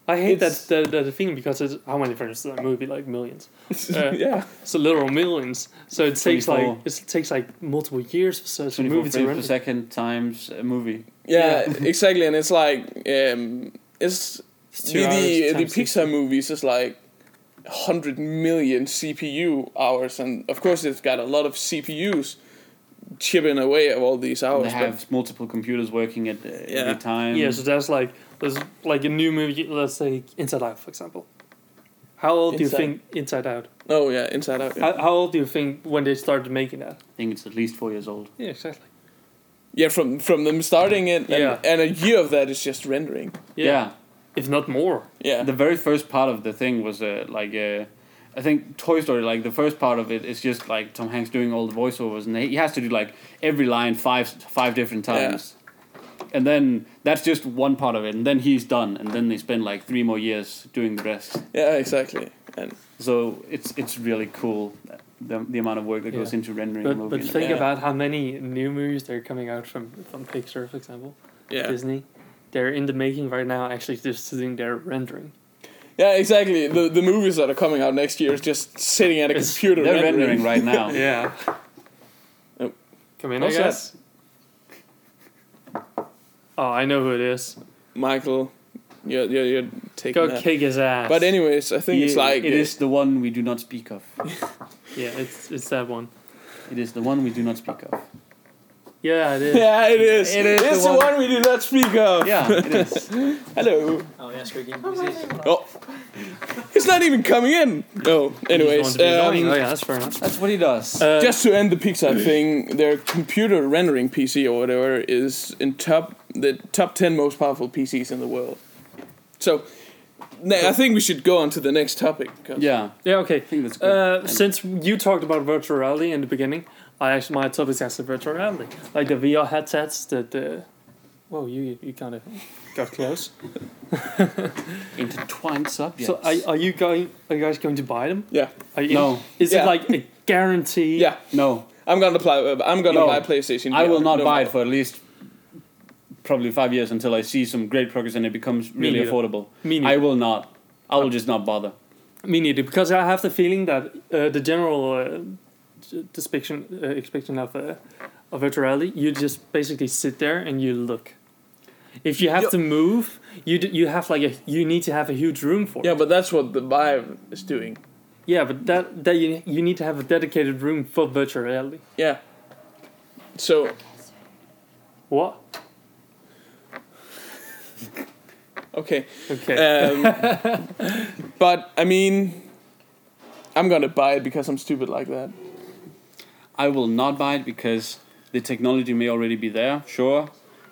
B: I hate that,
A: It's-
B: that that thing because it's how many frames does that movie? Like millions. Uh,
A: yeah,
B: So literal millions. So it takes
C: 24.
B: like it's- it takes like multiple years for such a
C: Twenty four
B: movie to
C: frames per
B: render.
C: second times a movie.
A: yeah, exactly. And it's like um, it's
B: It's
A: the
B: two
A: the,
B: hours
A: the
B: times six.
A: Pixar movies is like hundred million CPU hours, and of course it's got a lot of CPUs chipping away at all these
C: And
A: hours.
C: they have multiple computers working at uh,
A: Oh, Yeah.
C: every time.
B: Yeah, so that's like there's like a new movie. Let's say Inside Out, for example. How old
A: Inside-
B: do you think Inside Out?
A: but, oh yeah, Inside Out. Yeah,
B: How, how old do you think when they started making that?
C: I think it's at least four years old.
B: Yeah, exactly.
A: Yeah, from from them starting it, and,
B: Yeah.
A: and a year of that is just rendering.
B: Yeah. If not more.
A: Yeah,
C: The very first part of the thing was uh, like. Uh, I think Toy Story, like the first part of it, is just like Tom Hanks doing all the voiceovers, and he has to do like every line five five different
A: Yeah.
C: times, and then that's just one part of it, and then he's done, and then they spend like three more years doing the rest.
A: yeah, exactly. And
C: So it's it's really cool the, the amount of work that
B: Yeah.
C: goes into rendering a
B: But,
C: movie.
B: but think
A: Yeah.
B: about how many new movies that are coming out from, from Pixar, for example,
A: yeah,
B: Disney. They're in the making right now, actually just sitting there rendering.
A: yeah, exactly. The the movies that are coming out next year is just sitting at a
B: It's-
A: computer
C: They're rendering right now.
B: Yeah.
A: Oh.
B: Come in,
A: What's
B: I guess. Oh, I know who it is.
A: Michael, you're you're, you're taking
B: Go
A: that.
B: kick his ass.
A: But anyways, I think it's
C: Yeah,
A: like uh,
C: it is the one we do not speak of.
B: Yeah, it's it's that one.
C: It is the one we do not speak of.
B: Yeah, it is.
A: Yeah, it is.
C: It is
A: It's
C: the
A: the one.
C: one-
A: we did not speak of.
C: Yeah, it is.
A: Hello.
D: Oh, yeah, screw Game Music.
A: Oh, he's not even coming in. No. Anyways,
B: Just want to be annoying.
A: um,
B: oh yeah, that's fair enough.
C: That's what he does.
B: Uh,
A: just to end the Pixar thing, their computer rendering PC or whatever is in top the top ten most powerful PCs in the world. So, na- I think we should go on to the next topic. 'cause-
C: yeah,
B: yeah, okay.
C: I think that's good.
B: Uh, since you talked about virtual reality in the beginning, I actually my topic is actually virtual reality, like the VR headsets that the. Whoa, you you kind of got close.
C: intertwined subjects.
B: So are, are you going? Are you guys going to buy them?
A: Yeah.
B: Are you,
C: no,
B: Is
A: Yeah.
B: it like a guarantee?
A: Yeah.
C: no,
A: I'm gonna apply. I'm gonna
C: No.
A: buy PlayStation.
C: I
A: VR,
C: will not
A: no
C: buy
A: matter.
C: it for at least probably five years until I see some great progress and it becomes really
B: neither.
C: affordable.
B: Me
C: I
B: neither. Uh,
C: will not. I will just not bother.
B: Me neither, because I have the feeling that uh, the general uh, d- depiction uh, expectation of uh, of virtual reality, you just basically sit there and you look. If you have
A: Yeah.
B: to move, you d- you have like a you need to have a huge room for.
A: Yeah,
B: it.
A: but that's what the Vive is doing.
B: yeah, but that that you you need to have a dedicated room for virtual reality.
A: Yeah. So
B: What?
A: okay.
B: Okay.
A: Um, but I mean, I'm gonna buy it because I'm stupid like that.
C: I will not buy it because the technology may already be there, sure,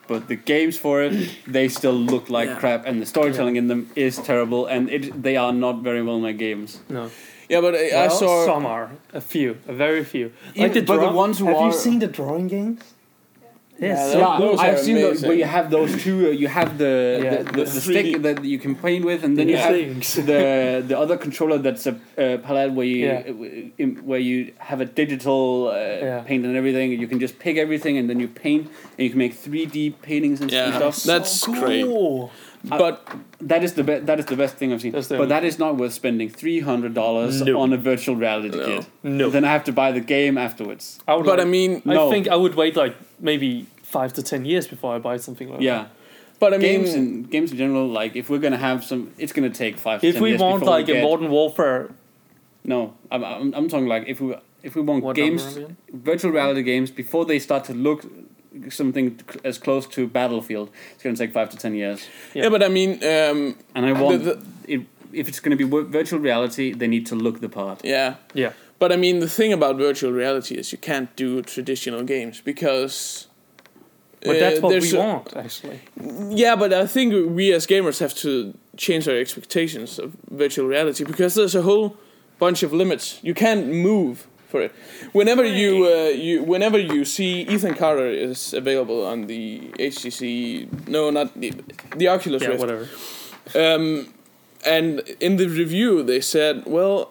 C: but the games for it they still look like
A: Yeah.
C: crap, and the storytelling in them is terrible, and it they are not very well made games.
B: no.
A: Yeah, but I, I
B: Well,
A: saw.
B: some are a few, a very few.
C: Even- but the ones who
B: have
C: are-
B: you seen the drawing games? Yes.
A: Yeah,
C: yeah,
A: those
C: I've
A: are
C: seen those.
A: amazing.
C: Where you have those two. uh, You have the
B: Yeah,
C: the,
A: the
C: the, the
A: 3D.
C: stick that you can paint with, and then
B: Yeah.
C: you
B: Things.
C: have the the other controller that's a uh, palette where you
B: Yeah.
C: uh, in- where you have a digital uh, paint and everything. and You can just pick everything, and then you paint, and you can make three D paintings and
A: Yeah,
C: stuff.
A: that's great. But
C: That is the be- that is the best thing I've seen.
B: That's the-
C: but that is not worth spending three hundred dollars
D: No.
C: on a virtual reality
A: No.
C: kit.
D: No.
C: Then I have to buy the game afterwards.
B: I would
A: but I
B: like-
A: mean,
C: No.
B: I think I would wait like maybe five to ten years before I buy something like
C: Yeah,
A: but I mean,
C: games in games in general. Like if we're gonna have some, it's gonna take five.
B: that.
C: to
B: If
C: 10
B: we
C: years
B: want
C: before
B: like
C: we
B: a
C: get-
B: modern warfare,
C: No, I'm, I'm, I'm talking like if we if we want
B: what
C: games,
B: number are we in?
C: virtual reality games, before they start to look something c- as close to Battlefield, it's gonna take five to ten years.
A: yeah. but I mean, um,
C: And I
A: The-
C: want
A: the-
C: it, if it's gonna be w- virtual reality, they need to look the part.
A: yeah.
B: Yeah.
A: But I mean, the thing about virtual reality is you can't do traditional games because.
B: But
A: uh,
B: that's what
A: there's
B: we
A: a-
B: want actually.
A: Yeah, but I think we as gamers have to change our expectations of virtual reality because there's a whole bunch of limits. You can't move for it. Whenever you uh, you whenever you see Ethan Carter is available on the HTC no not the the Oculus
B: Yeah,
A: Rift.
B: whatever.
A: Um, and in the review, they said, well,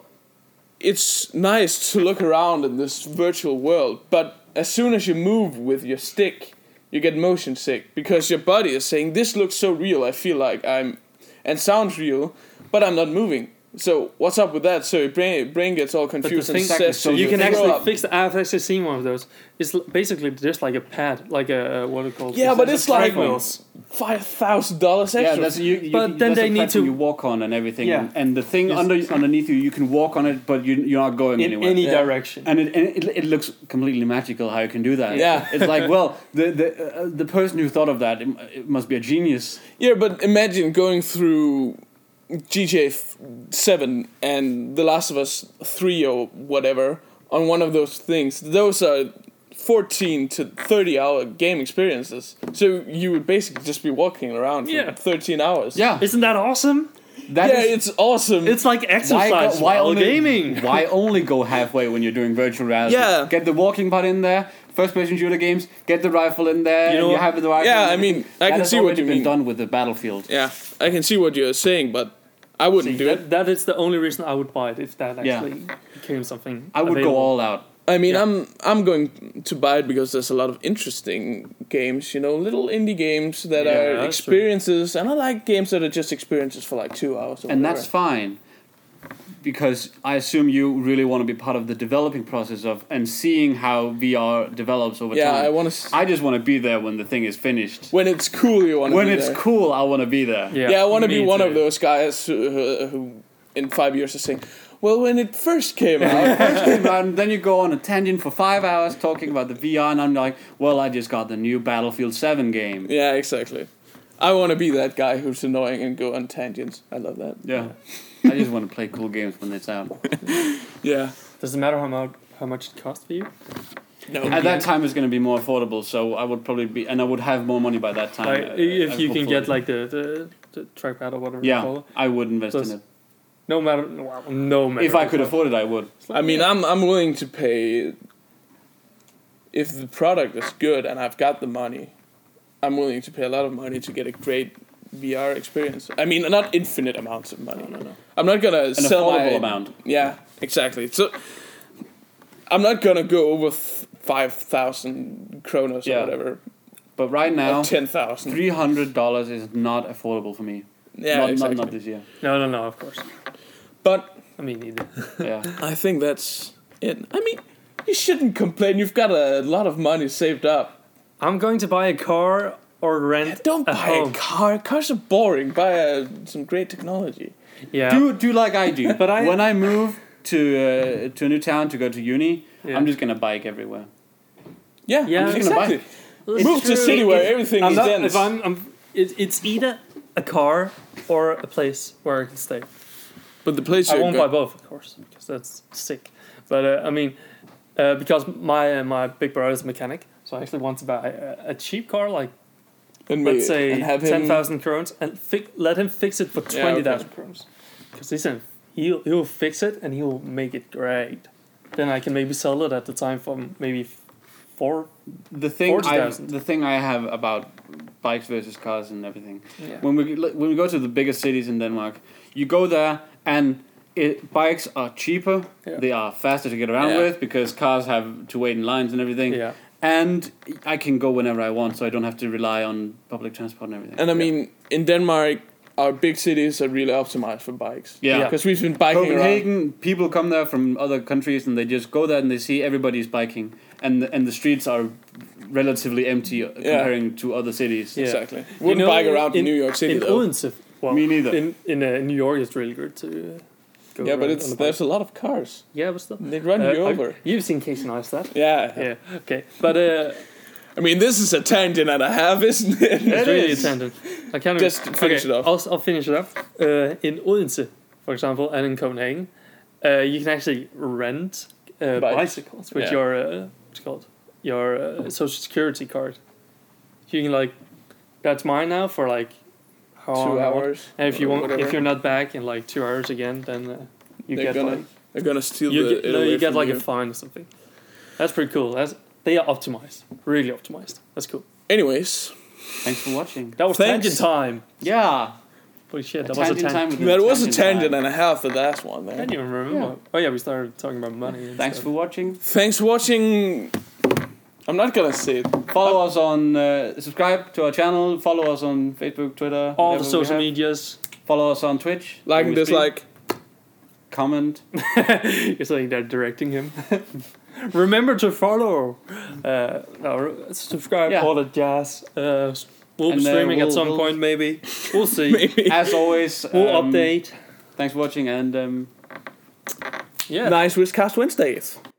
A: it's nice to look around in this virtual world, but as soon as you move with your stick, you get motion sick because your body is saying, this looks so real, I feel like I'm, and sounds real, but I'm not moving. So what's up with that? So your brain, brain gets all confused and
C: thing-
A: says,
C: so
A: to
B: You can
A: throw
B: actually
A: up.
B: fix. The, I've actually seen one of those. It's l- basically just like a pad, like a uh, what are it called?
A: Yeah, but
B: a
A: it's like-
B: treadmills.
A: five thousand dollars
C: Yeah,
A: extra.
C: that's you. you
B: But then
C: you- that's the
B: they need
C: platform
B: to-
C: you walk on and everything,
B: Yeah.
C: and, and the thing
B: Yes.
C: under underneath you, you can walk on it, but you you're not going
B: in
C: anywhere.
B: any
A: Yeah.
B: direction.
C: and it, and it it looks completely magical how you can do that.
A: Yeah.
C: it's like well, the the uh, the person who thought of that it, m- it must be a genius.
A: Yeah, but imagine going through GTA f- 7 and The Last of Us 3 or whatever on one of those things. Those are 14 to 30 hour game experiences. So you would basically just be walking around for
B: Yeah.
A: 13 hours.
C: Yeah,
B: Isn't that awesome?
C: that
A: yeah,
C: is-
A: it's awesome.
B: It's like
C: why go-
B: exercise
C: why
B: while
C: only-
B: gaming.
C: Why only go halfway when you're doing virtual reality?
A: Yeah.
C: get the walking part in there. First person shooter games, get the rifle in there.
B: You
C: You,
B: know
C: you
B: what?
C: have the rifle.
A: yeah,
C: and
A: I
C: everything.
A: mean, I
C: That
A: can
C: has
A: see what
C: already
A: you
C: been
A: mean.
C: done with the battlefield.
A: Yeah, I can see what you're saying, but I wouldn't do it.
B: That, that is the only reason I would buy it if that
C: Yeah.
B: actually became something.
C: I would
B: available.
C: go all out.
A: I mean,
B: Yeah.
A: I'm I'm going to buy it because there's a lot of interesting games, you know, little indie games that
C: Yeah,
A: are
B: that's true.
A: experiences, and I like games that are just experiences for like two hours. Or
C: and
A: whatever.
C: that's fine because i assume you really want to be part of the developing process of and seeing how vr develops over
A: yeah.
C: time
A: I want to.
C: I just want to be there when the thing is finished
A: When it's cool, you want to.
C: when
A: be
C: it's
A: there.
C: cool i want to be there
A: Yeah, I want to be
B: me
A: one
B: too.
A: of those guys who, who, who in five years, is saying, "Well, when it first came out,
C: and then you go on a tangent for five hours talking about the vr and i'm like well i just got the new battlefield 7 game
A: yeah, exactly." I want to be that guy who's annoying and go on tangents. I love that.
C: yeah i just want to play cool games when it's out
A: Yeah.
B: Does it matter how much how much it costs for you?
A: No.
C: at that time it's going to be more affordable so i would probably be and i would have more money by that time
B: Like
C: uh,
B: if you can get
C: hopefully.
B: like the the, the trackpad or whatever. You call
C: yeah
B: it.
C: i would invest
B: Those-
C: in it
B: No matter. Wow, no matter.
C: if i could afford it i would
A: I mean, I'm I'm willing to pay. If the product is good and I've got the money, I'm willing to pay a lot of money to get a great VR experience. I mean, not infinite amounts of money. No, no, no. I'm not gonna
C: an
A: sell my
C: affordable amount.
A: Yeah, exactly. So I'm not gonna go over th- five thousand kronos
C: Yeah.
A: or whatever.
C: But right now,
A: Or ten thousand.
C: three hundred dollars is not affordable for me.
A: Yeah,
C: not,
A: exactly.
C: not, not this year.
B: No, no, no. Of course.
A: But
B: I mean, neither.
C: Yeah,
A: I think that's it. I mean, you shouldn't complain. You've got a lot of money saved up.
B: I'm going to buy a car or
A: Yeah,
B: rent.
A: Don't
B: a
A: buy
B: home.
A: a car. Cars are boring. Buy uh, some great technology.
B: Yeah.
C: do do like I do.
B: But I-
C: when I move to uh, to a new town to go to uni,
B: Yeah.
C: I'm just gonna bike everywhere.
A: Yeah,
B: Yeah.
A: I'm just
C: gonna buy
A: exactly.
C: it.
B: It's
A: Move to a
B: true.
A: city where everything
B: I'm
A: is
B: not,
A: dense.
B: if I'm, I'm it, it's either a car or a place where I can stay.
A: but the place
B: I
A: you're
B: won't buy
A: going,
B: both, of course, because that's sick. But uh, I mean, uh, because my uh, my big brother is a mechanic, so I actually want to buy a, a cheap car, like
A: and
B: let's
A: we-
B: say
A: and have him-
B: ten thousand crowns, and fi- let him fix it for
A: Yeah,
B: twenty thousand
A: okay.
B: crowns. Because listen, he'll he'll fix it and he'll make it great. Then I can maybe sell it at the time for maybe four.
C: the thing I,
B: 40,000.
C: the thing I have about bikes versus cars and everything.
B: Yeah.
C: When we when we go to the bigger cities in Denmark, you go there and it, bikes are cheaper.
B: Yeah.
C: They are faster to get around
A: Yeah.
C: with because cars have to wait in lines and everything.
B: Yeah.
C: And I can go whenever I want, so I don't have to rely on public transport and everything.
A: And I mean, in Denmark, our big cities are really optimized for bikes.
C: Yeah. Yeah.
A: Because we've been biking around.
C: Copenhagen, people come there from other countries and they just go there and they see everybody's biking, and the, and the streets are relatively empty uh, comparing to other cities.
B: Yeah.
A: Exactly.
B: You
A: Wouldn't
B: know,
A: bike around
B: in-
A: New York City
B: in
A: though.
B: Odense, well,
C: Me neither.
B: In in uh, New York, it's really good to. Uh, go
A: yeah, but
B: around
A: it's
B: on a bike.
A: there's a lot of cars.
B: yeah, what's that?
A: They run you over.
B: You've seen Casey Neistat.
A: Yeah.
B: Uh, Yeah. Okay. But uh,
A: I mean, this is a tangent and a half, isn't it?
B: It's really
C: is.
B: attendant. I can't
A: Just
B: even-
A: finish
B: okay,
A: it off.
B: I'll, I'll finish it off. Uh, in Odense, for example, and in Copenhagen, uh, you can actually rent uh,
A: Bikes.
B: bicycles with
A: Yeah.
B: your uh, what's it called your uh, social security card. You can like, that's mine now for like how long
A: Two
B: I want.
A: hours.
B: And if you
A: or
B: want,
A: whatever.
B: if you're not back in like two hours again, then uh, you
A: They're
B: get
A: gonna
B: like
A: they're gonna steal
B: you
A: the.
B: get,
A: it
B: no,
A: away
B: you get
A: from
B: like
A: you.
B: a fine or something. That's pretty cool. That's they are optimized, really optimized. That's cool.
A: Anyways,
C: Thanks for watching.
B: That was
A: Thanks.
B: tangent time.
C: Yeah.
B: Holy shit, that was a
C: Tangent
B: tangent.
C: time with
A: that was a
C: tangent
A: tangent
C: time.
A: and a half of that one there.
B: I can't even remember.
C: Yeah.
B: Oh yeah, we started talking about money. And
C: Thanks for
B: stuff.
C: watching.
A: Thanks for watching. I'm not gonna say it.
C: Follow us on, uh, subscribe to our channel. Follow us on Facebook, Twitter.
B: all
C: whatever
B: the
C: we
B: social
C: have.
B: medias.
C: Follow us on Twitch.
A: Like
C: when
A: and
C: we speak.
A: dislike.
C: Comment.
B: It's like they're directing him. Remember to follow, uh, or subscribe.
C: Yeah.
B: All the jazz. Uh, we'll
C: And,
B: be
C: uh,
B: streaming at
C: we'll-
B: some
C: we'll-
B: point, maybe. We'll see.
A: Maybe.
C: As always.
B: We'll
C: um,
B: update.
C: Thanks for watching and um,
B: Yeah.
A: Nice Wishcast Wednesdays.